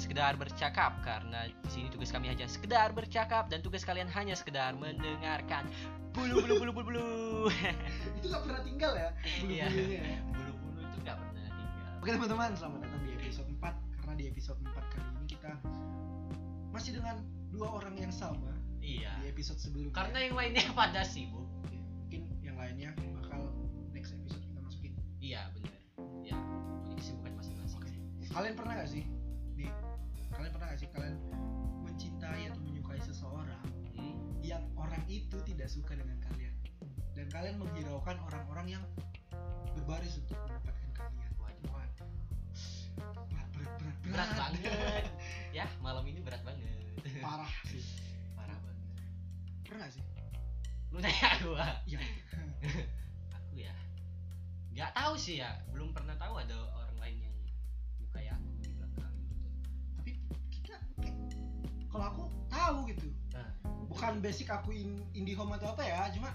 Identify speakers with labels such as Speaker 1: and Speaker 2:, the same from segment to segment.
Speaker 1: sekedar bercakap karena di sini tugas kami hanya sekedar bercakap dan tugas kalian hanya sekedar mendengarkan. Bulu bulu bulu bulu bulu.
Speaker 2: itu nggak pernah tinggal ya
Speaker 1: Iya.
Speaker 2: bulu-bulunya ya.
Speaker 1: bulu bulu itu nggak pernah tinggal.
Speaker 2: Oke teman-teman, selamat datang di episode 4 Karena di episode 4 kali ini kita masih dengan dua orang yang sama
Speaker 1: Iya.
Speaker 2: Di episode sebelumnya
Speaker 1: Karena yang lainnya pada sibuk.
Speaker 2: Ya, mungkin yang lainnya bakal next episode kita masukin
Speaker 1: Iya benar. Ya punya kesibukan masing-masing.
Speaker 2: Kalian pernah gak sih? Nih, kalian pernah gak sih kalian mencintai atau menyukai seseorang
Speaker 1: Hmm.
Speaker 2: Yang orang itu tidak suka dengan kalian Dan kalian menghiraukan orang-orang yang berbaris untuk mendapatkan kalian
Speaker 1: Waduh.
Speaker 2: Waduh. Berat, berat, berat,
Speaker 1: Berat banget. ya malam ini berat banget.
Speaker 2: Parah sih
Speaker 1: Parah banget.
Speaker 2: Pernah gak sih?
Speaker 1: Lu nanya gua.
Speaker 2: Iya
Speaker 1: aku ya nggak tahu sih ya belum pernah tahu ada orang lain yang nyukai aku di belakang gitu
Speaker 2: tapi kita kayak kalau aku tahu gitu
Speaker 1: nah
Speaker 2: bukan basic aku in, indie home atau apa ya cuma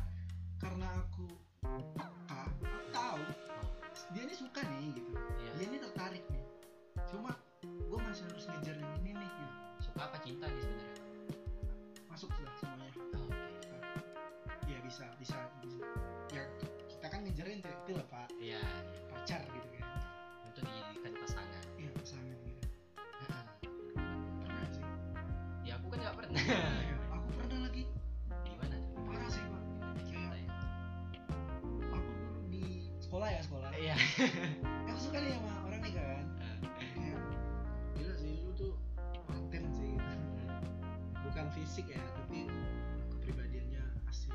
Speaker 2: karena aku peka aku tahu dia ini suka nih gitu
Speaker 1: ya
Speaker 2: dia ini tertarik nih cuma gue masih harus ngejar yang ini nih gitu.
Speaker 1: suka apa cinta nih sebenarnya
Speaker 2: masuk sudah semuanya
Speaker 1: Oh,
Speaker 2: ya bisa bisa bisa ya kita kan ngejarin itu itu lah pak
Speaker 1: iya iya.
Speaker 2: pacar gitu kan
Speaker 1: untuk dijadikan pasangan
Speaker 2: ya pasangan gitu
Speaker 1: Nah,
Speaker 2: pernah sih
Speaker 1: ya aku kan nggak pernah
Speaker 2: Ya, aku pernah lagi
Speaker 1: gimana tuh
Speaker 2: parah sih pak
Speaker 1: Cinta ya?
Speaker 2: aku dulu di sekolah ya sekolah
Speaker 1: iya
Speaker 2: aku suka nih sama orang nih kan Kayak, gila sih lu tuh paten sih gitu. bukan fisik ya tapi kepribadiannya asik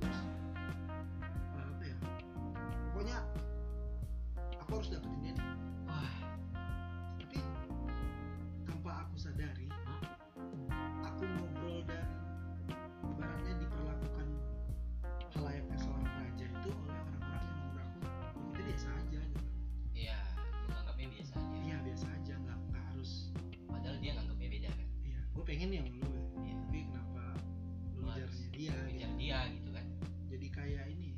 Speaker 2: terus eh, apa ya pokoknya aku harus dapetin dia nih
Speaker 1: wah
Speaker 2: tapi tanpa aku sadari
Speaker 1: Hah?
Speaker 2: aku ngobrol dan ibaratnya diperlakukan layaknya seorang raja itu oleh orang-orang yang menurut aku "Oh, kita biasa aja gitu
Speaker 1: iya lu nganggapnya biasa aja
Speaker 2: iya biasa aja nggak nggak harus
Speaker 1: padahal dia nganggapnya beda kan
Speaker 2: iya gue pengen yang lu ya
Speaker 1: Iya.
Speaker 2: tapi kenapa lu
Speaker 1: Lu harus
Speaker 2: ngejarnya dia gitu.
Speaker 1: ngejar dia gitu kan
Speaker 2: jadi kayak ini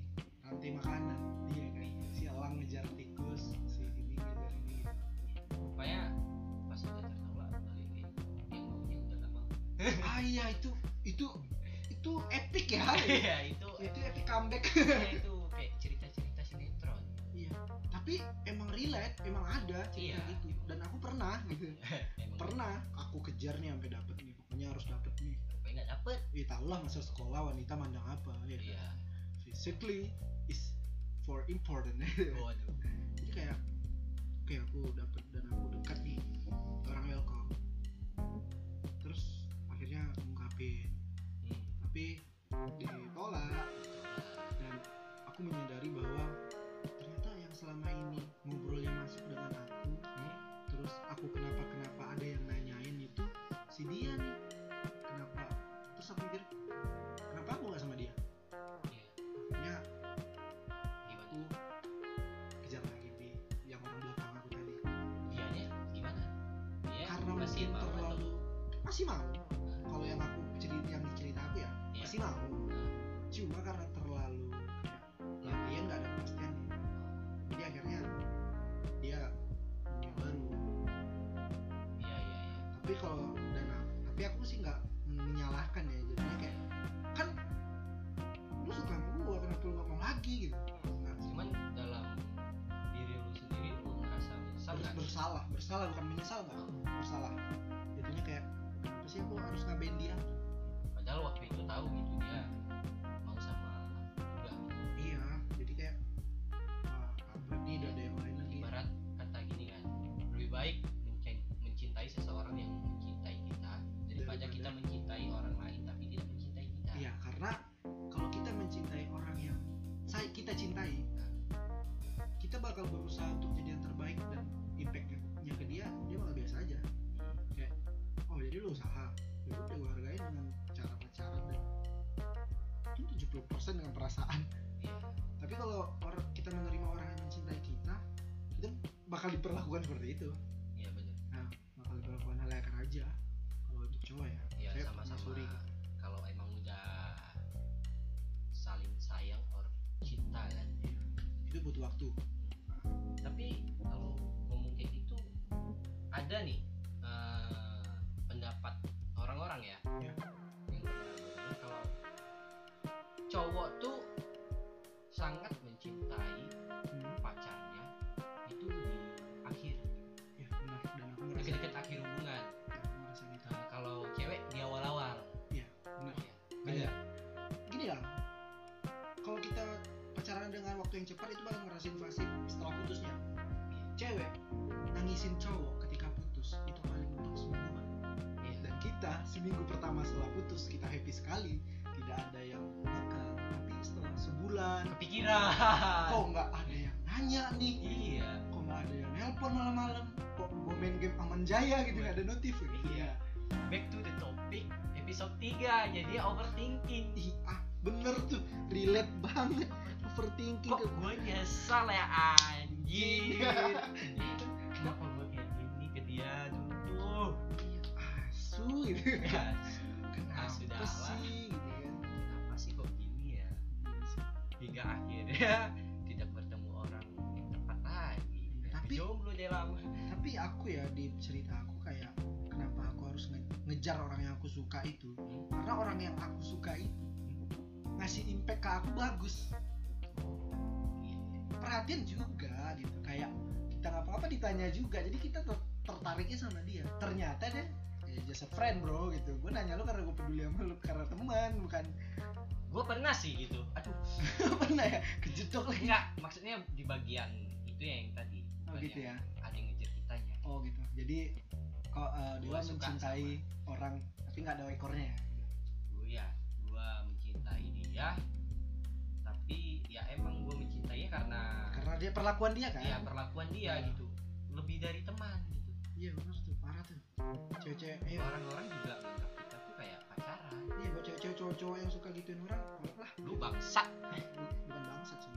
Speaker 2: rantai makanan iya kan si elang ngejar tikus si ini ngejar ini gitu.
Speaker 1: pokoknya pas udah tertolak balik nih yang maunya udah nggak mau
Speaker 2: ah iya itu itu itu epic ya
Speaker 1: iya itu
Speaker 2: itu epic comeback
Speaker 1: Ya, itu kayak cerita-cerita sinetron
Speaker 2: tapi emang relate emang ada cerita
Speaker 1: Iya.
Speaker 2: gitu dan aku pernah gitu
Speaker 1: emang
Speaker 2: pernah aku kejar nih sampai dapet nih pokoknya harus dapet nih
Speaker 1: rupanya nggak dapet
Speaker 2: ya tau lah masa sekolah wanita mandang apa ya kan?
Speaker 1: iya
Speaker 2: physically is for important
Speaker 1: waduh
Speaker 2: jadi kayak oke aku dapet dan aku dekat nih orang welcome terus akhirnya aku ngungkapin
Speaker 1: hmm.
Speaker 2: tapi ditolak dan aku menyadari bahwa ternyata yang selama ini ngobrolnya masuk dengan aku
Speaker 1: Hmm.
Speaker 2: terus aku kenapa kenapa ada yang nanyain itu si dia nih kenapa terus aku pikir kenapa aku gak sama dia
Speaker 1: Iya.
Speaker 2: akhirnya
Speaker 1: gimana
Speaker 2: aku kejar lagi di yang orang belakang aku tadi
Speaker 1: dianya gimana dia
Speaker 2: karena
Speaker 1: Eh, masih
Speaker 2: mungkin
Speaker 1: mau atau
Speaker 2: terlalu masih mau kalau yang aku cerita yang cerita aku ya
Speaker 1: Iya.
Speaker 2: masih mau cuma karena terlalu kayak, ya dia nggak ada kepastian nih. jadi akhirnya dia punya baru
Speaker 1: iya iya iya
Speaker 2: tapi kalau dan aku- tapi aku sih nggak menyalahkan ya jadinya kayak kan lu suka sama gua kenapa lu nggak mau lagi gitu nah,
Speaker 1: cuman dalam diri lu sendiri lu ngerasa menyesal
Speaker 2: bers-
Speaker 1: kan
Speaker 2: bersalah bersalah bukan menyesal nggak bersalah jadinya kayak kenapa sih aku harus ngabain dia
Speaker 1: padahal waktu itu tahu gitu dia mau sama gitu. aku juga
Speaker 2: iya jadi kayak wah apa nih udah ada yang lain lagi
Speaker 1: ibarat kata gini kan lebih baik mencen- mencintai seseorang yang mencintai kita daripada
Speaker 2: Daripada-
Speaker 1: kita mencintai orang lain tapi tidak mencintai kita
Speaker 2: Iya, karena kalau kita mencintai orang yang saya kita cintai, kita bakal berusaha untuk jadi yang terbaik dan impactnya ke dia, dia bakal biasa aja. Kayak, oh jadi lu usaha, ya udah gue hargain dengan cara pacaran dan itu 70% dengan perasaan.
Speaker 1: Iya.
Speaker 2: Tapi kalau orang kita menerima orang yang mencintai kita, kita bakal diperlakukan seperti itu,
Speaker 1: iya benar
Speaker 2: bakal diperlakukan hal yang aja. Kalau untuk cowok ya,
Speaker 1: ya
Speaker 2: saya
Speaker 1: sama-sama
Speaker 2: menyusuri.
Speaker 1: kalau emang udah saling sayang or cinta kan
Speaker 2: itu butuh waktu.
Speaker 1: tapi kalau ngomong kayak gitu ada nih eh, ya.
Speaker 2: Iya.
Speaker 1: cowok tuh sangat mencintai Hmm. pacarnya itu di akhir
Speaker 2: ya benar dan aku ngerasa
Speaker 1: deket-deket akhir hubungan
Speaker 2: ya, aku ngerasa gitu
Speaker 1: Nah, kalau cewek di awal-awal
Speaker 2: Iya, benar.
Speaker 1: Iya. benar
Speaker 2: gini lah kalau kita pacaran dengan waktu yang cepat itu bakal ngerasain fase setelah
Speaker 1: Iya.
Speaker 2: putusnya cewek nangisin cowok ketika putus itu paling untuk semua
Speaker 1: Iya.
Speaker 2: dan kita seminggu pertama setelah putus kita happy sekali tidak ada yang nakal tapi setelah sebulan
Speaker 1: kepikiran
Speaker 2: kok nggak ada yang nanya nih
Speaker 1: iya
Speaker 2: kok nggak ada yang nelpon malam-malam kok gue main game aman jaya gitu nggak ada notif gitu
Speaker 1: Iya.
Speaker 2: ya
Speaker 1: back to the topic episode 3 jadi overthinking
Speaker 2: Ih, ah bener tuh relate banget overthinking
Speaker 1: kok
Speaker 2: ke
Speaker 1: gue nyesal ya anjing kenapa gue kayak gini ke dia dulu
Speaker 2: Iya, asu gitu
Speaker 1: ya,
Speaker 2: kenapa
Speaker 1: sudahlah.
Speaker 2: sih gitu kan
Speaker 1: kenapa sih kok gini ya hingga akhirnya tidak bertemu orang yang tepat lagi
Speaker 2: Tapi-
Speaker 1: jomblo dia lama
Speaker 2: tapi aku ya di cerita aku kayak kenapa aku harus nge- ngejar orang yang aku suka itu
Speaker 1: Hmm.
Speaker 2: karena orang yang aku suka itu ngasih impact ke aku bagus
Speaker 1: Iya.
Speaker 2: perhatian juga gitu kayak kita nggak apa-apa ditanya juga jadi kita ter- tertariknya sama dia ternyata deh ya just a friend bro gitu gue nanya lu karena gue peduli sama lu karena teman bukan
Speaker 1: gue pernah sih gitu aduh
Speaker 2: pernah ya kejedok lagi
Speaker 1: enggak maksudnya di bagian itu ya yang tadi
Speaker 2: oh
Speaker 1: Bukan
Speaker 2: gitu
Speaker 1: yang
Speaker 2: ya
Speaker 1: ada yang ngejar kitanya
Speaker 2: oh gitu jadi kok eh, dia
Speaker 1: Gua suka
Speaker 2: mencintai orang tapi nggak ada ekornya ya
Speaker 1: gue ya gue mencintai dia tapi ya emang gue mencintainya karena
Speaker 2: karena dia perlakuan dia kan
Speaker 1: ya perlakuan dia
Speaker 2: Iya.
Speaker 1: gitu lebih dari teman gitu
Speaker 2: iya benar tuh parah tuh cewek-cewek eh
Speaker 1: orang-orang juga menganggap kita tuh kayak pacaran
Speaker 2: iya buat cewek-cewek cowok-cowok yang suka gituin orang tolak lah
Speaker 1: lu bangsat
Speaker 2: bukan bangsat sih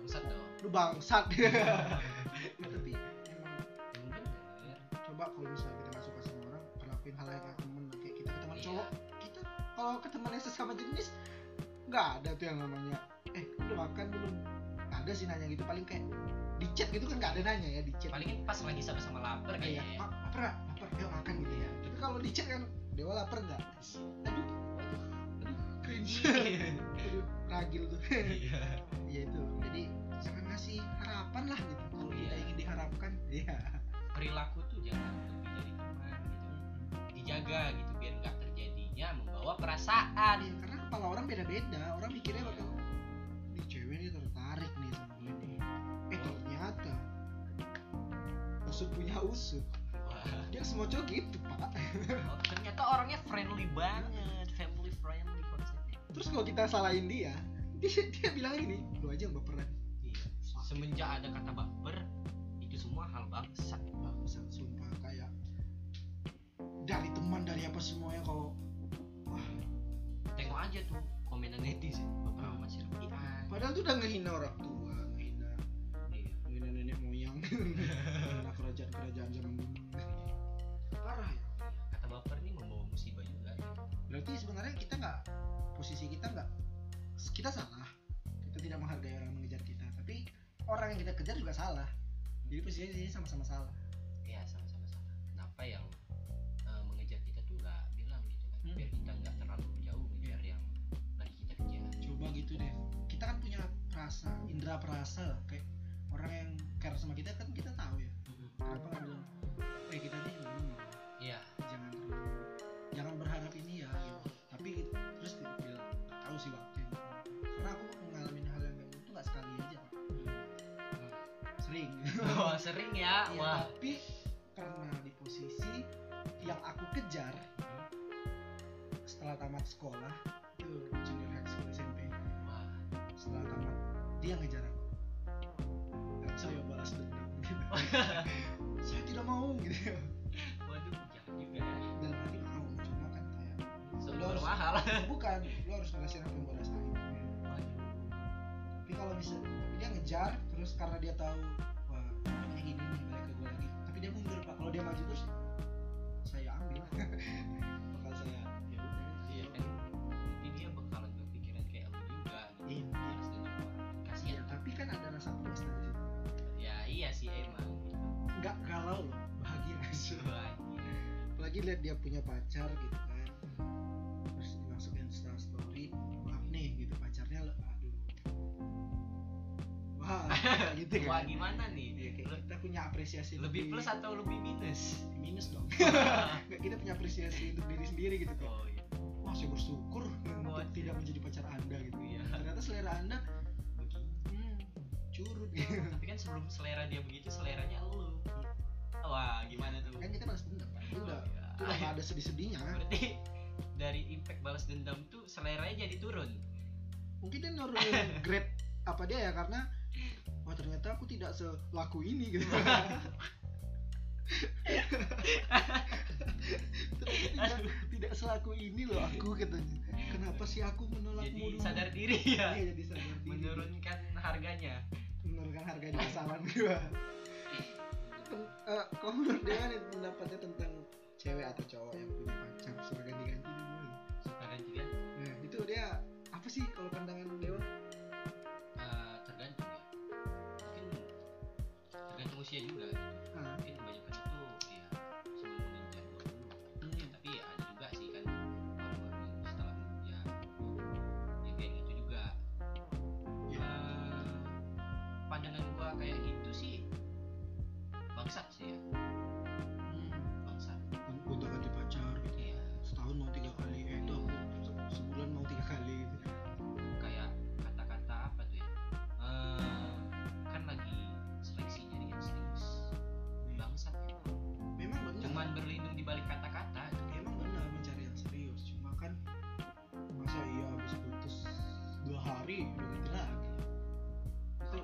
Speaker 1: bangsat dong
Speaker 2: lu bangsat tapi emang
Speaker 1: mungkin bener
Speaker 2: coba kalau misalnya kita nggak suka sama orang perlakuin hal yang temen kayak kita ke teman
Speaker 1: Iya.
Speaker 2: cowok kita kalau ke teman yang sesama jenis nggak ada tuh yang namanya eh udah makan belum ada sih nanya gitu paling kayak di chat gitu kan nggak ada nanya ya di chat
Speaker 1: paling pas lagi sama-sama lapar
Speaker 2: kayak
Speaker 1: kayaknya
Speaker 2: ya, lapar nggak? lapar yuk makan gitu ya tapi kalau di chat kan dewa lapar nggak aduh cringe aduh ragil tuh
Speaker 1: iya
Speaker 2: ya itu jadi jangan ngasih harapan lah gitu kalau kita
Speaker 1: Iya.
Speaker 2: ingin diharapkan ya
Speaker 1: perilaku tuh jangan lebih dari teman gitu dijaga gitu biar nggak terjadinya membawa perasaan
Speaker 2: Iya, karena kepala orang beda-beda orang mikirnya bakal nih cewek ini tertarik nih sama gue nih eh ternyata usut punya usut
Speaker 1: Wah,
Speaker 2: dia semua cowok gitu pak
Speaker 1: oh, ternyata orangnya friendly banget family friendly konsepnya
Speaker 2: terus kalau kita salahin dia dia, dia bilang gini lu aja yang baperan
Speaker 1: Iya. semenjak ada kata baper itu semua hal bangsat
Speaker 2: bangsat sumpah kayak dari teman dari apa semuanya kalau wah
Speaker 1: tengok aja tuh komenan netizen baper
Speaker 2: Hmm.
Speaker 1: sama si Raffi Ahmad.
Speaker 2: padahal tuh udah ngehina orang tua ngehina
Speaker 1: Iya.
Speaker 2: ngehina nenek moyang ngehina kerajaan kerajaan zaman dulu parah ya
Speaker 1: kata baper nih membawa musibah juga ya.
Speaker 2: berarti sebenarnya kita nggak posisi kita nggak kita salah kita tidak menghargai orang yang mengejar kita tapi orang yang kita kejar juga salah jadi posisinya di sini sama-sama salah
Speaker 1: ya sama-sama sama kenapa yang eh, mengejar kita tuh nggak bilang gitu kan
Speaker 2: Hmm. Iya.
Speaker 1: biar kita nggak terlalu jauh ngejar yang lagi kita kejar
Speaker 2: coba gitu deh kita kan punya rasa indera perasa lah kayak orang yang care sama kita kan kita tahu ya kenapa nggak bilang eh kita nih hmm,
Speaker 1: iya
Speaker 2: jangan terlalu jangan berharap ini ya gitu. tapi terus dia bilang nggak tahu sih waktu yang karena aku mengalami hal yang kayak gitu nggak sekali aja Pak. sering
Speaker 1: Wah sering ya,
Speaker 2: Iya,
Speaker 1: wah.
Speaker 2: tapi karena di posisi yang aku kejar setelah tamat sekolah itu junior high school SMP
Speaker 1: Wah,
Speaker 2: setelah tamat dia ngejar aku dan saya balas dendam gitu. saya tidak mau gitu
Speaker 1: waduh, jangan juga ya.
Speaker 2: dan nanti mau cuma kan kayak
Speaker 1: Sebelum
Speaker 2: Terus.
Speaker 1: mahal.
Speaker 2: bukan lo harus ngerasain apa yang gue rasain tapi kalau misalnya dia ngejar terus karena dia tahu wah kayak gini nih balik ke gue lagi tapi dia mundur pak kalau dia maju terus saya ambil bakal saya ya udah
Speaker 1: Iya kan, nanti dia bakalan berpikiran kayak aku juga. Gitu.
Speaker 2: Iya.
Speaker 1: Harus nunjuk orang.
Speaker 2: Iya,
Speaker 1: Kasihan.
Speaker 2: tapi kan ada rasa puas dari situ.
Speaker 1: Ya iya sih emang.
Speaker 2: Nggak galau loh, bahagia
Speaker 1: Gitu. Wah, iya.
Speaker 2: Apalagi lihat dia punya pacar gitu kan. Terus dia masukin Insta story, maaf nih gitu pacarnya gitu
Speaker 1: wah
Speaker 2: kan
Speaker 1: gimana nih
Speaker 2: Iya, kayak
Speaker 1: Le-
Speaker 2: kita punya apresiasi
Speaker 1: lebih plus atau lebih minus
Speaker 2: minus dong Nggak, kita punya apresiasi untuk diri sendiri gitu kayak
Speaker 1: oh iya
Speaker 2: wah saya bersyukur untuk
Speaker 1: Wah, sih.
Speaker 2: tidak menjadi pacar anda gitu
Speaker 1: Iya.
Speaker 2: ternyata selera anda
Speaker 1: begitu
Speaker 2: hmm, curut gitu
Speaker 1: tapi kan sebelum selera dia begitu seleranya lu wah gimana tuh
Speaker 2: Iya. kan kita balas dendam kan itu udah itu udah
Speaker 1: Iya.
Speaker 2: nggak ada sedih-sedihnya kan
Speaker 1: berarti dari impact balas dendam tuh seleranya jadi turun
Speaker 2: mungkin dia nurunin grade apa dia ya karena wah ternyata aku tidak selaku ini gitu ternyata tidak, tidak selaku ini loh aku katanya kenapa sih aku
Speaker 1: jadi
Speaker 2: menolakmu dulu?
Speaker 1: sadar diri ya
Speaker 2: Iya, jadi sadar diri.
Speaker 1: menurunkan harganya
Speaker 2: menurunkan harga di pasaran gua Pen- eh, kau menurut dia nih pendapatnya tentang cewek atau cowok yang punya pacar suka ganti-ganti dulu
Speaker 1: suka ganti kan
Speaker 2: nah itu dia apa sih kalau pandangan Dewa
Speaker 1: Eh, tergantung ya mungkin tergantung usia juga gitu.
Speaker 2: Ah.
Speaker 1: mungkin kebanyakan itu ya sebelum menikah dulu Ya, tapi ya ada juga sih kan orang-orang yang setelah menikah ya kayak gitu juga
Speaker 2: Ya.
Speaker 1: Eh, pandangan gua kayak gitu sih bangsat sih ya bangsat
Speaker 2: hmm. gonta ganti pacar gitu
Speaker 1: ya
Speaker 2: setahun mau tiga kali eh itu aku se- sebulan mau tiga kali gitu
Speaker 1: kayak kata-kata apa tuh ya Eh, kan lagi seleksi nyari yang serius
Speaker 2: Hmm.
Speaker 1: bangsat ya.
Speaker 2: memang benar
Speaker 1: cuman berlindung di balik kata-kata
Speaker 2: emang benar mencari yang serius cuma kan masa iya habis putus dua hari udah ganti lagi itu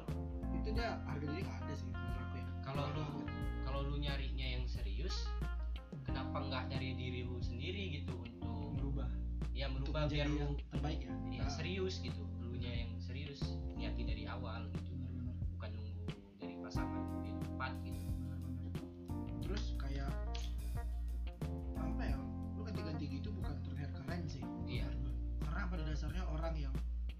Speaker 2: itu dia harga diri nggak ada sih menurut aku ya
Speaker 1: kalau lu kalau lu nyarinya yang serius kenapa nggak dari diri lu sendiri gitu untuk
Speaker 2: berubah
Speaker 1: ya
Speaker 2: untuk
Speaker 1: merubah
Speaker 2: menjadi
Speaker 1: biar
Speaker 2: yang
Speaker 1: lu
Speaker 2: terbaik ya
Speaker 1: ya, serius gitu lu nya yang serius niati dari awal gitu
Speaker 2: benar-benar
Speaker 1: bukan nunggu dari pasangan yang tepat gitu
Speaker 2: benar-benar terus kayak apa ya lu ganti-ganti gitu bukan terlihat keren sih
Speaker 1: Iya.
Speaker 2: karena pada dasarnya orang yang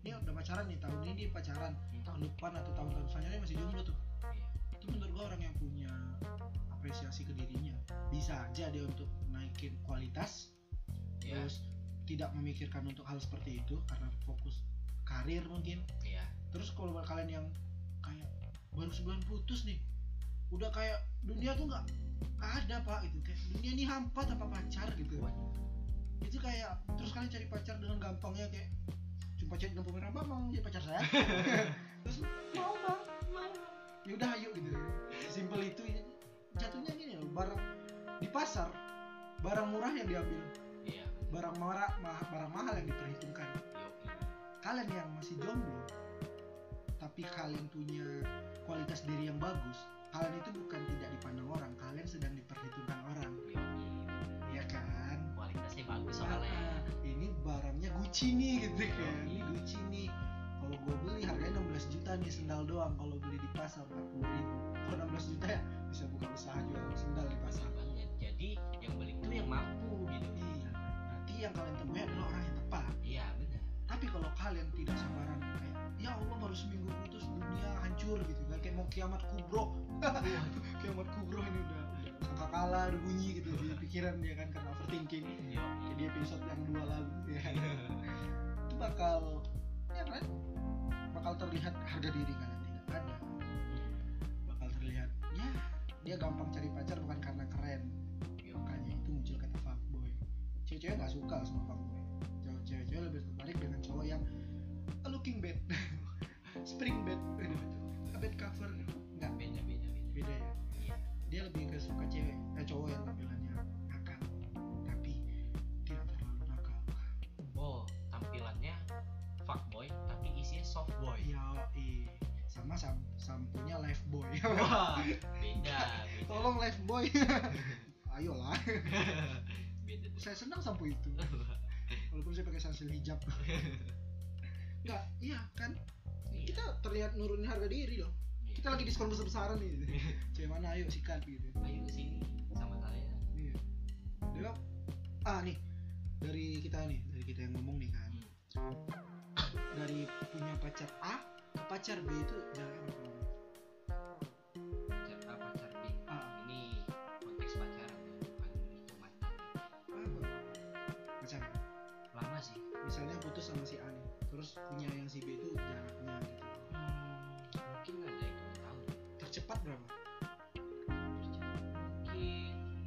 Speaker 2: ini udah pacaran nih tahun ini dia pacaran tahun depan atau tahun-tahun selanjutnya masih jomblo tuh
Speaker 1: Hmm. Iya.
Speaker 2: itu menurut gua orang yang punya apresiasi ke dirinya bisa aja dia untuk naikin kualitas
Speaker 1: ya
Speaker 2: terus tidak memikirkan untuk hal seperti itu karena fokus karir mungkin
Speaker 1: ya
Speaker 2: terus kalau buat kalian yang kayak baru sebulan putus nih udah kayak dunia tuh nggak nggak ada pak gitu kayak dunia ini hampa tanpa pacar gitu
Speaker 1: Waduh.
Speaker 2: itu kayak terus kalian cari pacar dengan gampangnya kayak jumpa chat dengan pemerah mbak mau jadi pacar saya terus mau mbak mau yaudah ayo gitu simpel itu jatuhnya gini loh barang di pasar barang murah yang diambil
Speaker 1: iya
Speaker 2: barang murah ma- barang mahal yang diperhitungkan
Speaker 1: Yoki.
Speaker 2: kalian yang masih jomblo tapi kalian punya kualitas diri yang bagus kalian itu bukan tidak dipandang orang kalian sedang diperhitungkan orang
Speaker 1: Yoki.
Speaker 2: ya kan
Speaker 1: kualitasnya bagus
Speaker 2: Ah,
Speaker 1: soalnya
Speaker 2: ini barangnya Gucci nih gitu
Speaker 1: Iya.
Speaker 2: kan ini Gucci nih kalau gue beli harganya 16 juta nih sendal doang kalau beli di pasar 40 ribu kalau 16 juta ya bisa buka usaha jual sendal di
Speaker 1: Besar
Speaker 2: pasar
Speaker 1: banget jadi yang beli tuh yang mampu gitu
Speaker 2: iya nanti yang kalian temui adalah orang yang tepat
Speaker 1: iya benar
Speaker 2: tapi kalau kalian tidak sabaran kayak ya Allah baru seminggu putus dunia hancur gitu kan kayak mau kiamat kubro kiamat kubro ini udah kakak kalah udah bunyi gitu di pikiran dia kan karena overthinking
Speaker 1: Yoki.
Speaker 2: jadi episode yang dua lalu ya kan. itu bakal ya kan bakal terlihat harga diri kalian tidak ada bakal terlihat ya dia gampang cari pacar bukan karena keren makanya itu muncul kata fuckboy cewek-cewek nggak suka sama fuckboy Cewek- cewek-cewek lebih tertarik dengan cowok yang looking bad spring bed bed cover nggak
Speaker 1: beda beda beda
Speaker 2: beda ya
Speaker 1: Iya.
Speaker 2: dia lebih ke suka cewek eh, cowok yang tampilannya nakal tapi tidak terlalu nakal
Speaker 1: oh tampilannya fuckboy tapi isinya soft boy
Speaker 2: ya eh sama sam sampunya life boy
Speaker 1: wah beda beda
Speaker 2: Iya. tolong life boy ayolah
Speaker 1: beda tuh.
Speaker 2: saya senang sampo itu walaupun saya pakai sansil hijab nggak iya kan
Speaker 1: Iya,
Speaker 2: kita terlihat nurunin harga diri loh
Speaker 1: iya.
Speaker 2: kita lagi diskon besar besaran nih cewek mana ayo sikat gitu
Speaker 1: ayo ke sini sama saya
Speaker 2: iya Dewa, ah nih dari kita nih dari kita yang ngomong nih kan
Speaker 1: Hmm.
Speaker 2: dari punya pacar A ke pacar B itu jaraknya berapa
Speaker 1: pacar A
Speaker 2: lama?
Speaker 1: pacar B
Speaker 2: A
Speaker 1: ini konteks pacaran ya, bukan nikah mantan
Speaker 2: apa? pacar A.
Speaker 1: lama sih
Speaker 2: misalnya putus sama si A nih terus punya yang si B itu jaraknya gitu
Speaker 1: Hmm, mungkin ada itu
Speaker 2: cepat berapa
Speaker 1: mungkin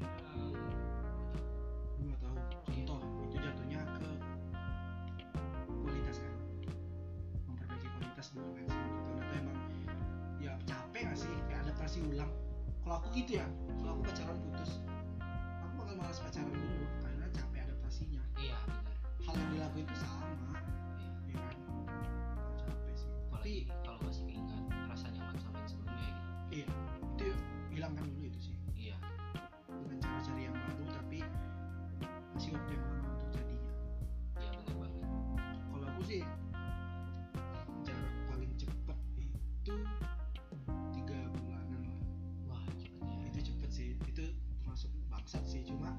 Speaker 2: dua tahun contoh itu jatuhnya ke kualitas kan memperbaiki kualitas dulu kan sih Contohnya tuh emang ya capek gak sih kayak adaptasi ulang kalau aku gitu ya kalau aku pacaran putus aku bakal malas pacaran dulu karena capek adaptasinya
Speaker 1: um, iya benar
Speaker 2: hal yang dilakuin itu sama
Speaker 1: iya
Speaker 2: ya kan capek sih
Speaker 1: apalagi
Speaker 2: tapi
Speaker 1: kalau masih keingat rasa nyaman sama yang sebelumnya gitu
Speaker 2: itu ya, hilangkan dulu itu sih
Speaker 1: iya
Speaker 2: bukan cara cari yang baru tapi masih waktu yang lama untuk jadinya
Speaker 1: iya benar banget
Speaker 2: kalau aku sih jarak paling cepet itu tiga bulanan lah
Speaker 1: wah cepet ya
Speaker 2: itu cepet sih itu termasuk bangsat sih cuma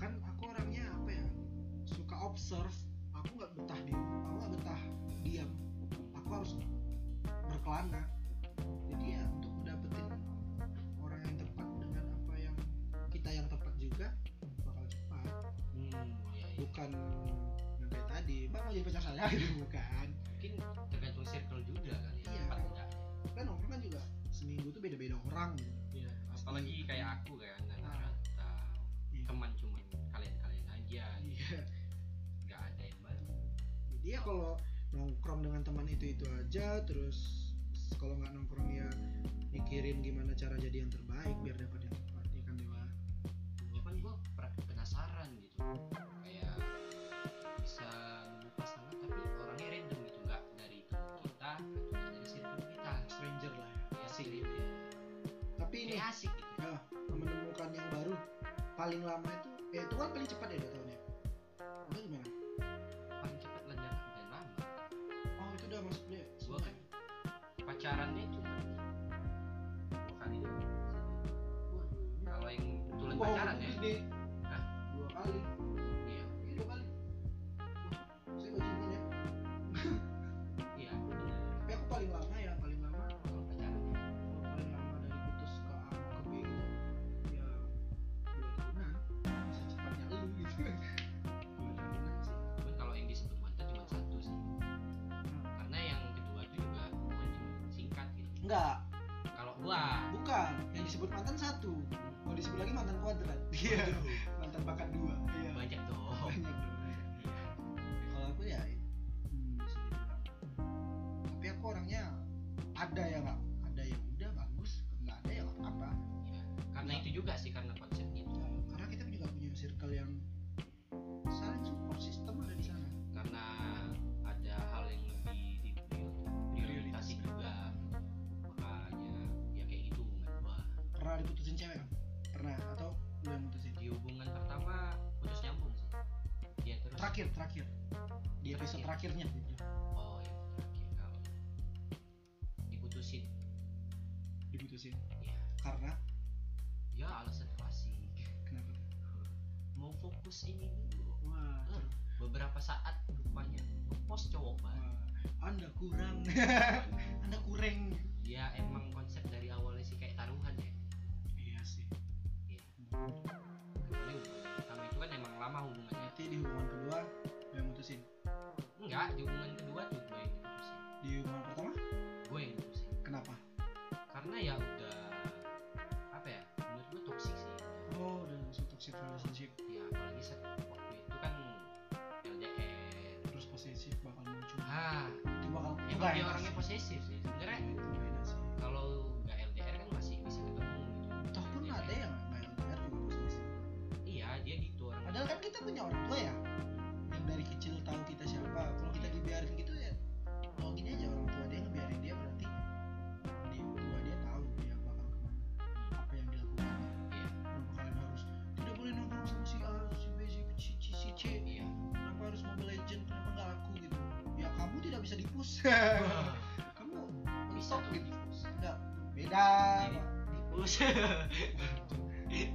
Speaker 2: kan aku orangnya apa ya suka observe aku nggak betah di aku nggak betah diam aku harus berkelana jadi ya untuk dapetin orang yang tepat dengan apa yang kita yang tepat juga bakal cepat
Speaker 1: hmm iya iya
Speaker 2: bukan yang kayak tadi bang mau jadi pacar saya gitu bukan
Speaker 1: mungkin tergantung circle juga kali ya
Speaker 2: Iya.
Speaker 1: tempat enggak
Speaker 2: kan orang kan juga seminggu tuh beda-beda orang gitu
Speaker 1: iya apalagi kayak aku kan anak
Speaker 2: Ah.
Speaker 1: rantau
Speaker 2: Iya.
Speaker 1: teman cuman kalian kalian aja
Speaker 2: iya
Speaker 1: nggak ada yang baru
Speaker 2: jadi ya kalau nongkrong dengan teman itu itu aja terus kalau nggak nongkrong ya mikirin gimana cara jadi yang terbaik biar dapat yang tepat ya kan dewa
Speaker 1: bahkan gue penasaran gitu kayak bisa nemu pasangan tapi orangnya random gitu nggak dari teman kita atau nggak dari circle kita
Speaker 2: stranger lah ya
Speaker 1: ya sih gitu ya.
Speaker 2: tapi ini
Speaker 1: Kayak asik gitu
Speaker 2: menemukan yang baru paling lama itu ya itu kan paling cepat ya dua tahun ya atau gimana
Speaker 1: paling cepat lenjang dan lama
Speaker 2: oh itu udah masuknya
Speaker 1: gue kan pacarannya cuma dua kali doang. kalau yang kebetulan pacaran ya
Speaker 2: deh
Speaker 1: Hah?
Speaker 2: Iya, dua kali
Speaker 1: iya
Speaker 2: iya dua kali Wah, saya gak ya
Speaker 1: iya bener.
Speaker 2: tapi aku paling lama ya paling lama
Speaker 1: kalau pacaran
Speaker 2: kalau paling lama dari putus ke A ke B gitu ya dua tahunan secepatnya lu gitu
Speaker 1: cuman
Speaker 2: dua tahunan sih
Speaker 1: kalau yang disebut mantan cuma satu sih karena yang kedua itu juga bukan cuma singkat gitu
Speaker 2: enggak
Speaker 1: kalau gua
Speaker 2: bukan yang disebut mantan satu kalau disebut lagi mantan kuadrat iya mantan bakat dua iya
Speaker 1: banyak dong
Speaker 2: banyak dong
Speaker 1: Iya.
Speaker 2: kalau aku ya hmm, bisa dibilang. tapi aku orangnya ada ya nggak ada yang udah bagus nggak ada ya nggak apa
Speaker 1: Iya. karena itu juga sih karena konsep gitu. itu
Speaker 2: Nah, karena kita juga punya circle yang saling support system ada di sana
Speaker 1: karena ada hal yang lebih diprioritas
Speaker 2: Prioritas.
Speaker 1: juga makanya ya kayak gitu hubungan gua
Speaker 2: pernah diputusin cewek nggak? pernah atau lu yang mutusin
Speaker 1: di hubungan pertama putus nyambung sih dia terus
Speaker 2: terakhir terakhir di episode terakhirnya
Speaker 1: oh yang terakhir kalau diputusin
Speaker 2: diputusin
Speaker 1: ya
Speaker 2: karena
Speaker 1: ya alasan klasik
Speaker 2: kenapa
Speaker 1: mau fokus ini dulu
Speaker 2: wah, ter-
Speaker 1: beberapa saat rupanya ngepost cowok baru
Speaker 2: wah anda kurang anda kurang
Speaker 1: ya emang konsep dari awalnya sih kayak taruhan ya
Speaker 2: iya sih
Speaker 1: Iya. kecuali hubungan pertama itu kan emang lama hubungannya
Speaker 2: berarti di hubungan kedua lu yang mutusin
Speaker 1: enggak di hubungan kedua tuh gue yang diputusin
Speaker 2: di hubungan pertama
Speaker 1: gue yang diputusin
Speaker 2: kenapa
Speaker 1: karena ya udah apa ya menurut gue toksik sih
Speaker 2: oh udah langsung toxic relationship
Speaker 1: ya apalagi saat waktu itu kan LDR
Speaker 2: terus posesif bakal muncul
Speaker 1: ah
Speaker 2: itu bakal
Speaker 1: emang dia
Speaker 2: enak
Speaker 1: orangnya
Speaker 2: sih.
Speaker 1: posesif sih sebenarnya
Speaker 2: Iya, itu nggak enak sih
Speaker 1: kalau nggak LDR kan masih bisa ketemu gitu
Speaker 2: toh pun ada yang nggak LDR juga posesif
Speaker 1: iya dia gitu orang
Speaker 2: Padahal kan kita punya orang tua ya yang dari kecil tahu kita siapa. Kalau kita dibiarin gitu ya, kalau gini aja orang tua dia ngebiarin dia berarti dia tua dia tahu dia bakal kemana, apa yang dilakukan.
Speaker 1: Iya.
Speaker 2: Kenapa kalian harus tidak boleh nongkrong sama si A, si B, si C, si, si C?
Speaker 1: iya
Speaker 2: Kenapa harus Mobile Legend? Kenapa nggak aku gitu? Ya kamu tidak bisa dipus. kamu
Speaker 1: bisa
Speaker 2: mentok
Speaker 1: tuh
Speaker 2: gitu.
Speaker 1: dipus
Speaker 2: Enggak, beda.
Speaker 1: Jadi, dipus
Speaker 2: Kalian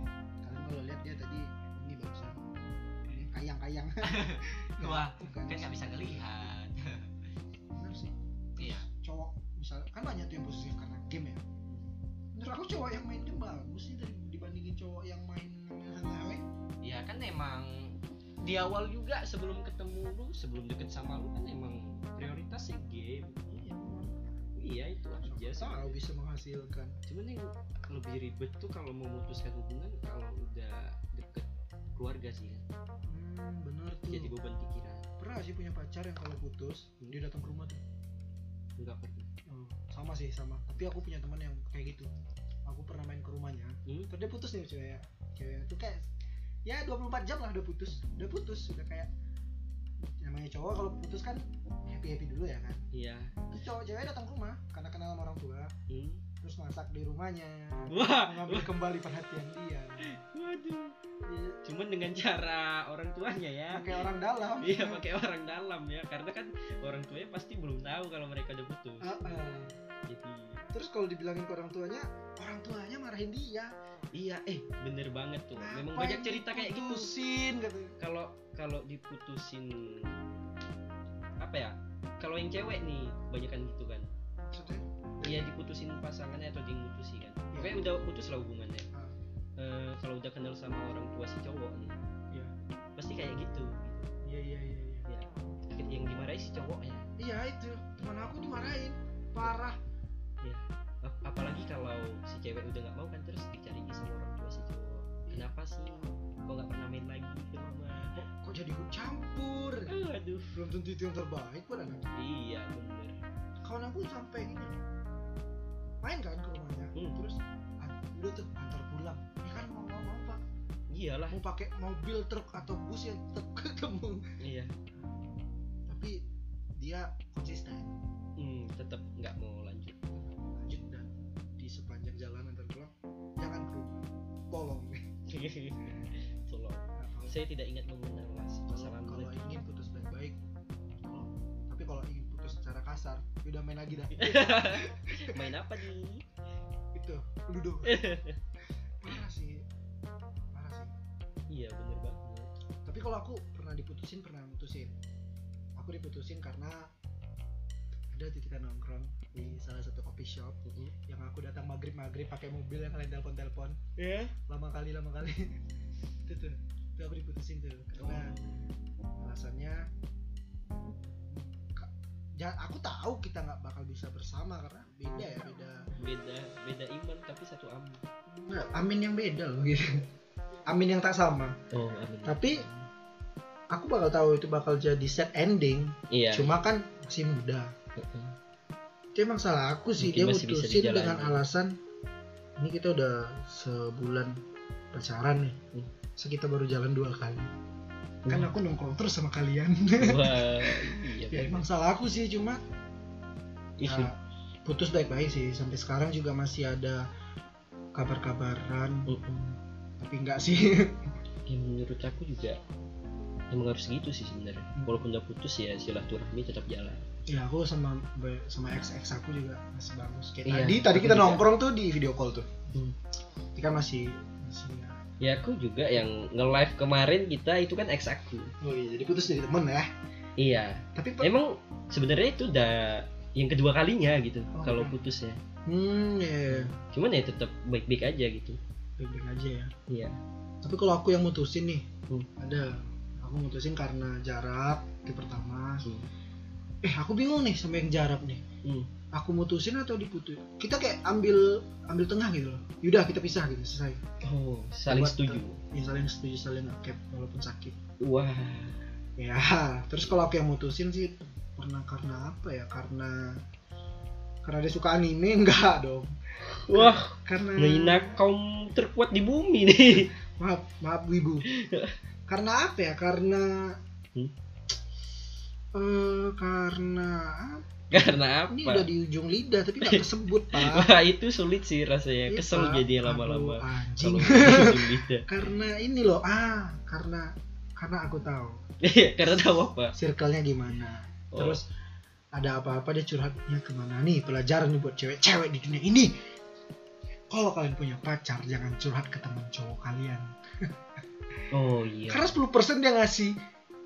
Speaker 2: kalau lihat dia tadi ini barusan ini kayang-kayang. Iya,
Speaker 1: Wah,
Speaker 2: bukan
Speaker 1: kan nggak bisa ngelihat
Speaker 2: Bener sih.
Speaker 1: iya
Speaker 2: cowok misalnya kan banyak tuh yang posesif karena game ya menurut aku cowok yang main game bagus sih dari dibandingin cowok yang main hal-hal
Speaker 1: ya kan emang di awal juga sebelum ketemu lu sebelum deket sama lu kan emang prioritasnya game
Speaker 2: iya
Speaker 1: ya itu aja
Speaker 2: Siapa tahu
Speaker 1: sebenarnya.
Speaker 2: bisa menghasilkan
Speaker 1: cuman yang lebih ribet tuh kalau memutuskan hubungan kalau udah deket keluarga sih kan
Speaker 2: hmm, bener tuh
Speaker 1: jadi beban pikiran
Speaker 2: pernah gak sih punya pacar yang kalau putus
Speaker 1: Hmm.
Speaker 2: dia datang ke rumah tuh
Speaker 1: nggak pernah
Speaker 2: Oh, sama sih sama tapi aku punya teman yang kayak gitu aku pernah main ke rumahnya
Speaker 1: Hmm?
Speaker 2: terus dia putus nih cewek cewek itu kayak ya 24 jam lah udah putus udah putus udah kayak namanya cowok kalau putus kan happy happy dulu ya kan
Speaker 1: iya
Speaker 2: terus cowok cewek datang ke rumah karena kenal sama orang tua
Speaker 1: hmm?
Speaker 2: terus masak di rumahnya
Speaker 1: wah
Speaker 2: mengambil kembali perhatian dia
Speaker 1: waduh
Speaker 2: Iya,
Speaker 1: cuman dengan cara orang tuanya ya
Speaker 2: pakai orang dalam
Speaker 1: Iya pakai orang dalam ya karena kan orang tuanya pasti belum tahu kalau mereka udah putus.
Speaker 2: Ah, ah.
Speaker 1: Jadi
Speaker 2: terus kalau dibilangin ke orang tuanya orang tuanya marahin dia
Speaker 1: iya eh bener banget tuh. Memang
Speaker 2: Apa
Speaker 1: banyak
Speaker 2: yang
Speaker 1: cerita kayak gitu.
Speaker 2: diputusin, gitu
Speaker 1: Kalau kalau diputusin apa ya? Kalau yang cewek nih kebanyakan gitu kan.
Speaker 2: Maksudnya,
Speaker 1: Iya diputusin pasangannya atau dimutusin kan.
Speaker 2: Iya.
Speaker 1: Pokoknya udah putus lah hubungannya.
Speaker 2: Ah.
Speaker 1: Eh, kalau udah kenal sama orang tua si cowok nih,
Speaker 2: Iya.
Speaker 1: pasti kayak gitu.
Speaker 2: iya iya iya iya
Speaker 1: Yang dimarahin si cowoknya.
Speaker 2: Iya itu teman aku dimarahin parah
Speaker 1: Ap- apalagi kalau si cewek udah nggak mau kan terus dicarinya sama orang tua si cowok kenapa sih kok nggak pernah main lagi ke rumah
Speaker 2: kok, kok jadi gue campur
Speaker 1: oh, aduh
Speaker 2: belum tentu itu yang terbaik buat anak
Speaker 1: iya bener
Speaker 2: kawan aku sampai ini main kan ke rumahnya
Speaker 1: Hmm.
Speaker 2: terus an- udah tuh antar pulang ya kan mau mau, mau pak
Speaker 1: iyalah
Speaker 2: mau pakai mobil truk atau bus yang tetap ketemu
Speaker 1: iya
Speaker 2: tapi dia konsisten
Speaker 1: hmm, tetap nggak mau lanjut
Speaker 2: lanjut dan di sepanjang jalan antar pulang jangan ke rumah tolong
Speaker 1: tolong
Speaker 2: Nah, kalau-
Speaker 1: saya tidak ingat mengenal mas masalah
Speaker 2: kalau
Speaker 1: mulut
Speaker 2: ingin putus baik-baik tolong. tapi kalau ingin putus secara kasar ya udah main lagi dah
Speaker 1: main apa nih
Speaker 2: itu ludo Gitu. parah sih parah sih
Speaker 1: iya bener banget
Speaker 2: tapi kalau aku pernah diputusin pernah mutusin aku diputusin karena ada titik nongkrong di salah satu coffee shop
Speaker 1: Mm-mm.
Speaker 2: yang aku datang maghrib maghrib pakai mobil yang lain telepon telepon
Speaker 1: ya
Speaker 2: lama kali lama kali itu tuh itu aku diputusin tuh karena alasannya ka- ja- aku tahu kita nggak bakal bisa bersama karena beda ya beda
Speaker 1: beda beda iman tapi satu am
Speaker 2: amin yang beda loh gitu amin yang tak sama
Speaker 1: oh amin
Speaker 2: Tapi- aku bakal tahu itu bakal jadi sad ending
Speaker 1: iya
Speaker 2: cuma kan masih muda
Speaker 1: Mm-mm.
Speaker 2: itu emang salah aku sih
Speaker 1: Mungkin
Speaker 2: dia
Speaker 1: masih bisa
Speaker 2: mutusin dengan
Speaker 1: dijalani.
Speaker 2: alasan ini kita udah sebulan pacaran nih
Speaker 1: Hmm.
Speaker 2: terus kita baru jalan dua kali kan aku nongkrong terus sama kalian
Speaker 1: wah iya
Speaker 2: ya
Speaker 1: bener. Iya.
Speaker 2: emang salah aku sih cuma
Speaker 1: Ih,
Speaker 2: ya, putus baik-baik sih sampai sekarang juga masih ada kabar-kabaran
Speaker 1: Mm-mm.
Speaker 2: tapi enggak sih
Speaker 1: ya menurut aku juga emang harus gitu sih sebenarnya
Speaker 2: Hmm.
Speaker 1: walaupun udah putus ya silaturahmi tetap jalan
Speaker 2: ya aku sama sama ex ex aku juga masih bagus kayak
Speaker 1: Iya,
Speaker 2: tadi tadi
Speaker 1: aku
Speaker 2: kita
Speaker 1: juga.
Speaker 2: nongkrong tuh di video call tuh
Speaker 1: Hmm.
Speaker 2: kita masih masih ya.
Speaker 1: ya aku juga yang nge live kemarin kita itu kan ex aku
Speaker 2: oh iya jadi putus jadi temen ya
Speaker 1: iya
Speaker 2: tapi pe-
Speaker 1: emang sebenarnya itu udah yang kedua kalinya gitu
Speaker 2: Oh.
Speaker 1: kalau putus ya
Speaker 2: hmm ya
Speaker 1: cuman ya tetap baik-baik aja gitu
Speaker 2: baik-baik aja ya
Speaker 1: iya
Speaker 2: tapi kalau aku yang mutusin nih
Speaker 1: Hmm.
Speaker 2: ada aku mutusin karena jarak itu pertama
Speaker 1: Hmm.
Speaker 2: eh aku bingung nih sama yang jarak nih
Speaker 1: Hmm.
Speaker 2: aku mutusin atau diputus kita kayak ambil ambil tengah gitu loh yaudah kita pisah gitu selesai
Speaker 1: oh saling
Speaker 2: Buat-
Speaker 1: setuju
Speaker 2: ya saling setuju saling ngecap walaupun sakit
Speaker 1: wah
Speaker 2: ya terus kalau aku yang mutusin sih pernah karena apa ya karena karena dia suka anime enggak dong
Speaker 1: wah
Speaker 2: karena
Speaker 1: menghina kaum terkuat di bumi nih
Speaker 2: maaf maaf wibu karena apa ya karena eh
Speaker 1: Hmm?
Speaker 2: karena
Speaker 1: karena
Speaker 2: ini udah
Speaker 1: apa
Speaker 2: di ujung lidah tapi nggak kesebut pak
Speaker 1: wah itu sulit sih rasanya
Speaker 2: Iya,
Speaker 1: kesel
Speaker 2: Pak.
Speaker 1: jadi
Speaker 2: Aduh,
Speaker 1: lama-lama
Speaker 2: anjing
Speaker 1: kalau gitu. ujung lidah.
Speaker 2: karena ini loh ah karena karena aku tahu
Speaker 1: Iya, karena tahu apa?
Speaker 2: circle-nya gimana
Speaker 1: Oh.
Speaker 2: terus ada apa-apa dia curhatnya kemana nih pelajaran nih buat cewek-cewek di dunia ini kalau kalian punya pacar jangan curhat ke teman cowok kalian
Speaker 1: oh iya.
Speaker 2: karena 10% dia ngasih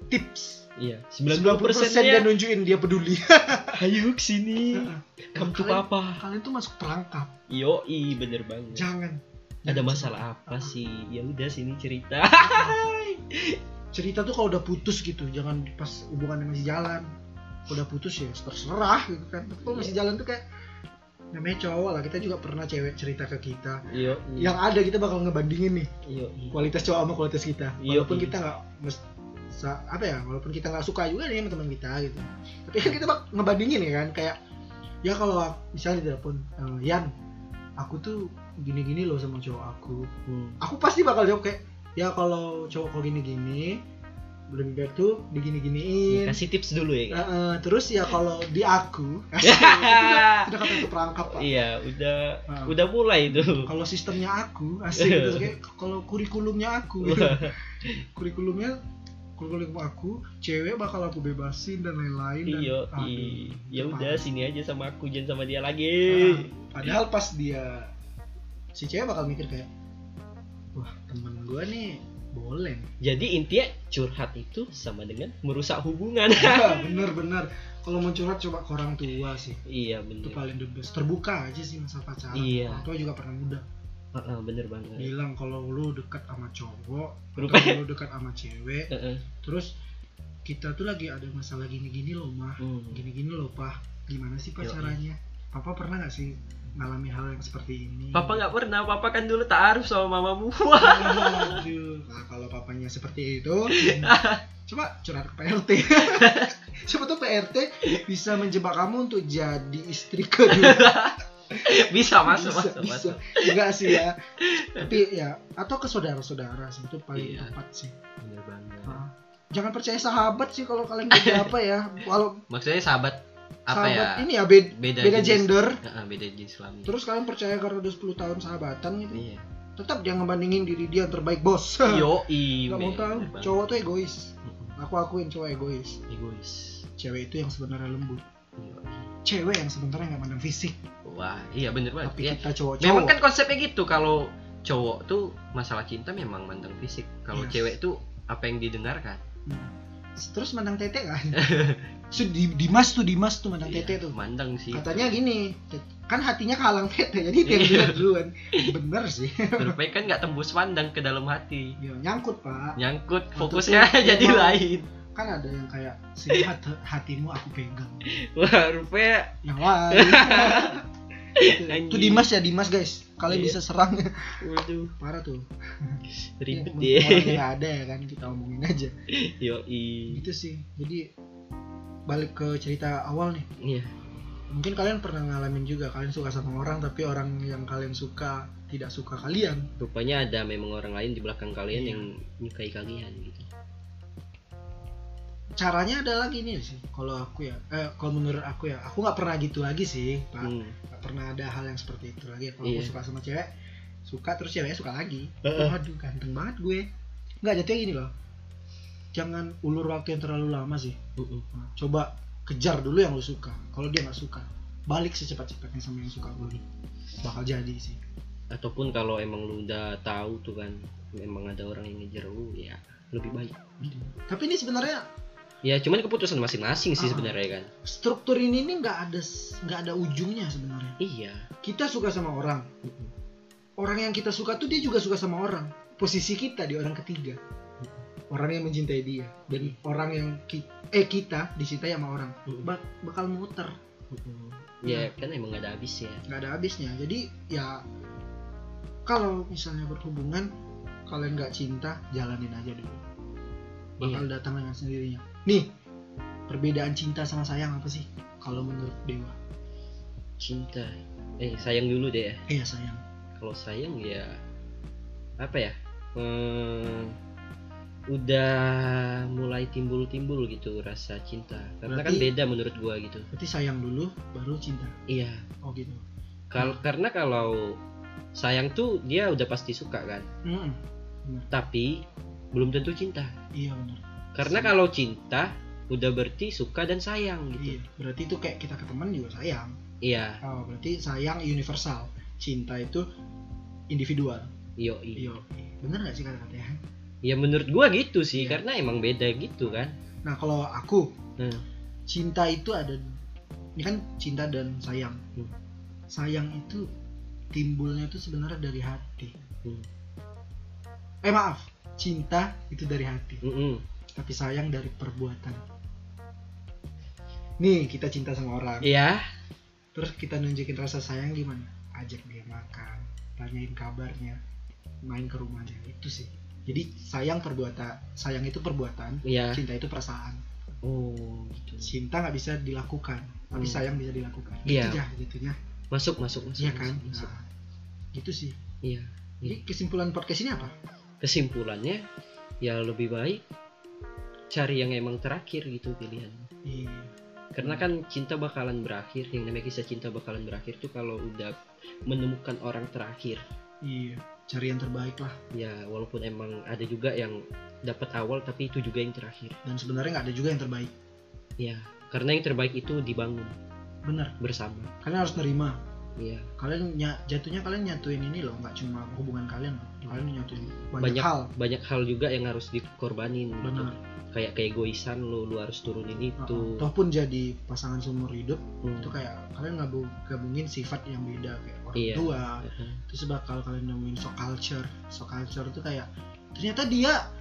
Speaker 2: tips
Speaker 1: Iya, 90
Speaker 2: 90% dia
Speaker 1: persennya
Speaker 2: nunjukin dia peduli
Speaker 1: ayo ke sini.
Speaker 2: Heeh.
Speaker 1: Kamu tuh apa?
Speaker 2: kalian tuh masuk perangkap
Speaker 1: Yo, bener banget.
Speaker 2: jangan
Speaker 1: Ada
Speaker 2: Jangan
Speaker 1: masalah apa sih? Ya udah sini cerita.
Speaker 2: cerita. cerita tuh kalau udah putus gitu jangan pas hubungannya masih jalan Kalau udah putus ya terserah gitu kan tapi kalau masih jalan tuh kayak namanya cowok lah kita juga pernah cewek cerita ke kita
Speaker 1: Iya.
Speaker 2: yang ada kita bakal ngebandingin nih
Speaker 1: Iya.
Speaker 2: kualitas cowok sama kualitas kita
Speaker 1: Iya,
Speaker 2: walaupun
Speaker 1: iya.
Speaker 2: kita nggak mes- sa- apa ya walaupun kita nggak suka juga nih sama teman kita gitu tapi kan kita bak ngebandingin ya kan kayak ya kalau ak- misalnya di telepon eh, Yan aku tuh gini-gini loh sama cowok aku
Speaker 1: Hmm.
Speaker 2: aku pasti bakal jawab kayak ya kalau cowok kok gini-gini lebih baik tuh digini-giniin
Speaker 1: Kasih tips dulu ya.
Speaker 2: Eh,
Speaker 1: Kak.
Speaker 2: eh, terus ya kalau di aku gitu. sudah kata itu perangkap pak
Speaker 1: Iya, udah
Speaker 2: Nah,
Speaker 1: udah mulai itu.
Speaker 2: kalau sistemnya aku asik gitu Terus kayak kalau kurikulumnya aku kurikulumnya kurikulum aku cewek bakal aku bebasin dan lain-lain dan
Speaker 1: Iya,
Speaker 2: Aduh,
Speaker 1: i-
Speaker 2: itu
Speaker 1: ya udah
Speaker 2: parah.
Speaker 1: sini aja sama aku jangan sama dia
Speaker 2: Ah,
Speaker 1: lagi.
Speaker 2: padahal pas dia si cewek bakal mikir kayak wah temen gue nih boleh
Speaker 1: Jadi intinya curhat itu sama dengan merusak hubungan.
Speaker 2: bener-bener kalau mau curhat coba ke orang tua sih
Speaker 1: iya bener.
Speaker 2: itu paling the best terbuka aja sih masalah pacaran
Speaker 1: Iya.
Speaker 2: orang tua juga pernah muda
Speaker 1: Heeh, Ah, bener banget.
Speaker 2: bilang kalau lu dekat sama cowok
Speaker 1: Rupanya-
Speaker 2: atau lu dekat sama cewek
Speaker 1: Heeh.
Speaker 2: terus kita tuh lagi ada masalah gini-gini loh mah
Speaker 1: Hmm.
Speaker 2: gini-gini loh pak gimana sih pak
Speaker 1: Yoi.
Speaker 2: caranya papa pernah nggak sih ngalami hal yang seperti ini
Speaker 1: Papa nggak pernah, papa kan dulu taaruf sama mamamu. Wah.
Speaker 2: Aduh. nah, kalau papanya seperti itu coba curhat ke PRT siapa tuh PRT bisa menjebak kamu untuk jadi istri kedua
Speaker 3: Iya.
Speaker 1: bisa masuk,
Speaker 2: Bisa,
Speaker 1: masuk,
Speaker 2: bisa.
Speaker 1: masuk.
Speaker 2: enggak sih ya tapi ya atau ke saudara-saudara sih itu paling
Speaker 1: Iya.
Speaker 2: tepat sih
Speaker 1: Bener banget.
Speaker 2: Ah. jangan percaya sahabat sih kalau kalian beda apa ya walau
Speaker 3: Maksudnya sahabat apa
Speaker 2: sahabat
Speaker 3: ya?
Speaker 2: ini ya beda,
Speaker 3: Beda,
Speaker 2: beda
Speaker 3: jenis-
Speaker 2: gender
Speaker 3: Heeh, beda jenis kelamin.
Speaker 2: terus kalian percaya karena udah 10 tahun sahabatan gitu
Speaker 3: iya.
Speaker 2: tetap dia ngebandingin diri dia yang terbaik bos
Speaker 1: Yo,
Speaker 2: nggak
Speaker 3: iya,
Speaker 2: mau tahu cowok tuh egois aku akuin cowok egois
Speaker 1: egois.
Speaker 2: cewek itu yang sebenarnya lembut cewek yang sebenarnya nggak pandang fisik
Speaker 3: Wah, iya bener banget.
Speaker 2: tapi
Speaker 3: Iya.
Speaker 2: kita cowok cowok
Speaker 3: Memang kan konsepnya gitu kalau cowok tuh masalah cinta memang mandang fisik. Kalau
Speaker 2: Yes.
Speaker 3: cewek tuh apa yang didengarkan.
Speaker 2: terus mandang tete kan So, di, Dimas tuh Dimas tuh mandang
Speaker 3: Iya,
Speaker 2: tete tuh
Speaker 3: Mandang sih.
Speaker 2: katanya gini kan hatinya kalang tete jadi dia yang
Speaker 3: Iya.
Speaker 2: bilang duluan bener sih
Speaker 3: Rupanya kan nggak tembus pandang ke dalam hati.
Speaker 2: Ya, nyangkut pak
Speaker 3: Nyangkut
Speaker 2: Itu
Speaker 3: fokusnya
Speaker 2: tuh
Speaker 3: jadi
Speaker 2: emang-
Speaker 3: lain.
Speaker 2: kan ada yang kayak sini hat- hatimu aku pegang
Speaker 1: Wah, rupanya
Speaker 2: yang lain Gitu. itu
Speaker 1: Anjing.
Speaker 2: Dimas ya Dimas guys kalian
Speaker 1: Iya.
Speaker 2: bisa serang
Speaker 1: waduh,
Speaker 2: parah tuh
Speaker 1: ribet
Speaker 2: ya,
Speaker 1: deh.
Speaker 2: orangnya nggak ada ya kan kita omongin aja
Speaker 1: Yo,
Speaker 2: gitu sih jadi balik ke cerita awal nih
Speaker 1: Iya.
Speaker 2: mungkin kalian pernah ngalamin juga kalian suka sama orang tapi orang yang kalian suka tidak suka kalian
Speaker 1: Rupanya ada memang orang lain di belakang kalian
Speaker 2: Iya.
Speaker 1: yang menyukai kalian gitu.
Speaker 2: caranya adalah gini sih kalau aku ya eh, kalau menurut aku ya aku nggak pernah gitu lagi sih pak
Speaker 1: Hmm.
Speaker 2: nggak pernah ada hal yang seperti itu lagi kalau
Speaker 1: Iya.
Speaker 2: aku suka sama cewek suka terus ceweknya suka lagi
Speaker 1: Heeh.
Speaker 2: aduh ganteng banget gue nggak jatuhnya gini loh jangan ulur waktu yang terlalu lama sih
Speaker 1: Mm-mm.
Speaker 2: Nah, coba kejar dulu yang lu suka kalau dia nggak suka balik secepat-cepatnya sama yang suka lu bakal jadi sih
Speaker 1: Ataupun kalau emang lu udah tahu tuh kan memang ada orang yang ngejar lu ya lebih baik.
Speaker 2: tapi ini sebenarnya
Speaker 1: Ya cuman keputusan masing-masing sih
Speaker 2: Ah.
Speaker 1: sebenarnya kan.
Speaker 2: struktur ini nih nggak ada nggak ada ujungnya sebenarnya
Speaker 1: Iya. Hmm.
Speaker 2: kita suka sama orang orang yang kita suka tuh dia juga suka sama orang posisi kita di orang ketiga orang yang mencintai dia dan orang yang ki- eh kita dicintai sama orang
Speaker 1: Mm-mm.
Speaker 2: Bak- bakal muter
Speaker 1: Mm-mm. Hmm. Ya kan emang gak ada habis ya.
Speaker 2: nggak ada habisnya jadi ya kalau misalnya berhubungan kalian nggak cinta jalanin aja dulu bakal datang dengan sendirinya nih perbedaan cinta sama sayang apa sih kalau menurut dewa
Speaker 1: Cinta. Eh sayang dulu deh ya.
Speaker 2: iya sayang
Speaker 1: kalau sayang ya apa ya Hmm, udah mulai timbul-timbul gitu rasa cinta karena kan
Speaker 2: Berarti-
Speaker 1: beda menurut gua gitu
Speaker 2: berarti sayang dulu baru cinta
Speaker 1: iya
Speaker 2: oh gitu
Speaker 1: kal karena kalau sayang tuh dia udah pasti suka kan
Speaker 2: Mm-mm.
Speaker 1: tapi belum tentu cinta
Speaker 2: iya benar
Speaker 1: karena
Speaker 2: Sama.
Speaker 1: kalau cinta udah berarti suka dan sayang gitu
Speaker 2: iya berarti itu kayak kita ke teman juga sayang
Speaker 1: iya
Speaker 2: oh, berarti sayang universal cinta itu individual
Speaker 1: yo
Speaker 2: iya bener nggak sih kata-katanya
Speaker 1: ya menurut gua gitu sih
Speaker 2: Iya.
Speaker 1: karena emang beda gitu kan
Speaker 2: Nah kalau aku
Speaker 1: Hmm.
Speaker 2: cinta itu ada ini kan cinta dan sayang.
Speaker 1: Hmm.
Speaker 2: Sayang itu timbulnya itu sebenarnya dari hati.
Speaker 1: Hmm.
Speaker 2: Eh maaf, cinta itu dari hati,
Speaker 1: Mm-mm.
Speaker 2: tapi sayang dari perbuatan. Nih kita cinta sama orang,
Speaker 1: iya
Speaker 2: terus kita nunjukin rasa sayang gimana ajak dia makan tanyain kabarnya main ke rumahnya itu sih jadi sayang perbuatan sayang itu perbuatan
Speaker 1: Iya.
Speaker 2: cinta itu perasaan
Speaker 1: Oh, gitu.
Speaker 2: cinta nggak bisa dilakukan tapi
Speaker 1: Hmm.
Speaker 2: sayang bisa dilakukan
Speaker 1: Iya.
Speaker 2: gitu ya gitunya
Speaker 1: Masuk, masuk, masuk.
Speaker 2: iya kan
Speaker 1: masuk, masuk.
Speaker 2: nah, gitu sih
Speaker 1: Iya.
Speaker 2: jadi kesimpulan podcast ini apa
Speaker 1: Kesimpulannya ya lebih baik cari yang emang terakhir gitu pilihan.
Speaker 2: iya
Speaker 1: Karena kan cinta bakalan berakhir, yang namanya kisah cinta bakalan berakhir tuh kalau udah menemukan orang terakhir.
Speaker 2: iya cari yang terbaik lah
Speaker 1: Ya, walaupun emang ada juga yang dapat awal tapi itu juga yang terakhir.
Speaker 2: dan sebenarnya nggak ada juga yang terbaik
Speaker 1: Ya, karena yang terbaik itu dibangun
Speaker 2: bener
Speaker 1: bersama.
Speaker 2: kalian harus nerima
Speaker 1: Iya,
Speaker 2: kalian nya- jatuhnya kalian nyatuin ini loh nggak cuma hubungan kalian loh. kalian nyatuin banyak,
Speaker 1: Banyak.
Speaker 2: hal
Speaker 1: banyak hal juga yang harus dikorbanin gitu.
Speaker 2: benar
Speaker 1: Kayak keegoisan lu, lu harus turunin itu.
Speaker 2: Nah, toh pun jadi pasangan seumur hidup
Speaker 1: Hmm.
Speaker 2: itu kayak kalian ngabu- gabungin sifat yang beda kayak orang
Speaker 1: Iya.
Speaker 2: tua
Speaker 1: Heeh.
Speaker 2: terus bakal kalian nemuin so culture so culture itu kayak ternyata dia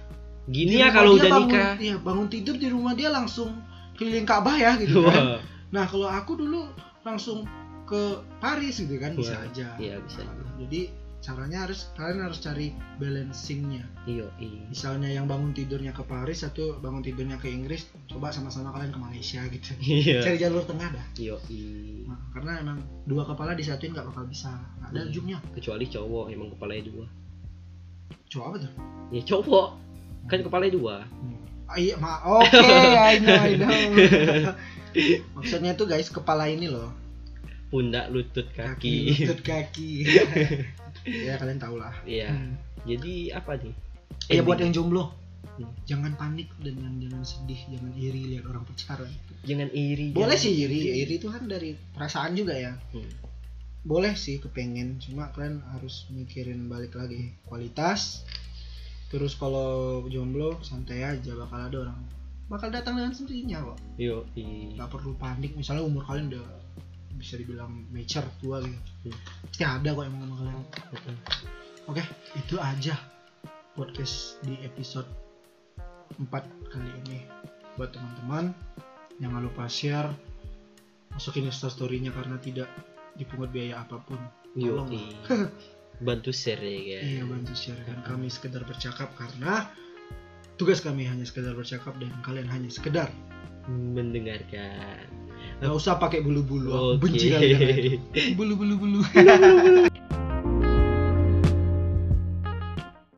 Speaker 1: Gini
Speaker 2: di
Speaker 1: ya
Speaker 2: rumah
Speaker 1: kalau
Speaker 2: dia
Speaker 1: udah
Speaker 2: bangun,
Speaker 1: nikah.
Speaker 2: iya, bangun tidur di rumah dia langsung keliling Ka'bah ya gitu kan
Speaker 1: Wah,
Speaker 2: nah kalau aku dulu langsung ke Paris gitu kan bisa
Speaker 1: Wah,
Speaker 2: aja
Speaker 1: Iya bisa.
Speaker 2: Nah, jadi caranya harus kalian harus cari balancingnya
Speaker 1: Iya, iya.
Speaker 2: misalnya yang bangun tidurnya ke Paris atau bangun tidurnya ke Inggris coba sama-sama kalian ke Malaysia gitu
Speaker 1: Iya.
Speaker 2: cari jalur tengah dah
Speaker 1: Iya, iya.
Speaker 2: Nah, karena emang dua kepala disatuin nggak bakal bisa nggak ada
Speaker 1: Iya.
Speaker 2: ujungnya
Speaker 1: Kecuali cowok emang kepalanya dua.
Speaker 2: coba apa tuh
Speaker 1: Ya cowok kan kepalanya dua.
Speaker 2: Ah, iya ma oke I know I know maksudnya tuh guys kepala ini loh
Speaker 1: Pundak, lutut, kaki.
Speaker 2: lutut kaki ya kalian tau lah
Speaker 1: Iya.
Speaker 2: Hmm.
Speaker 1: Jadi apa nih?
Speaker 2: ya buat
Speaker 1: Ending.
Speaker 2: yang jomblo
Speaker 1: Hmm.
Speaker 2: jangan panik dan jangan, jangan sedih jangan iri lihat orang pacaran
Speaker 1: jangan iri.
Speaker 2: boleh
Speaker 1: jangan-
Speaker 2: sih iri iri itu kan dari perasaan juga
Speaker 1: Iya.
Speaker 2: ya
Speaker 1: Hmm.
Speaker 2: boleh sih kepengen cuma kalian harus mikirin balik lagi kualitas terus kalau jomblo santai aja bakal ada orang bakal datang dengan sendirinya kok
Speaker 1: Iya, iya.
Speaker 2: nggak perlu panik misalnya umur kalian udah bisa dibilang mature tua gitu
Speaker 1: Hmm.
Speaker 2: pasti ada kok yang mau sama kalian
Speaker 1: Heeh.
Speaker 2: oke itu aja podcast di episode 4 kali ini buat teman-teman jangan lupa share masukin instastorynya karena tidak dipungut biaya apapun
Speaker 1: Iya,
Speaker 2: Tolong.
Speaker 1: iya. Bantu share ya.
Speaker 2: Iya bantu share dan kami sekedar bercakap karena tugas kami hanya sekedar bercakap dan kalian hanya sekedar
Speaker 1: Mendengarkan.
Speaker 2: nggak usah pakai bulu-bulu aku ya,
Speaker 1: Oke.
Speaker 2: benci kalian bulu-bulu bulu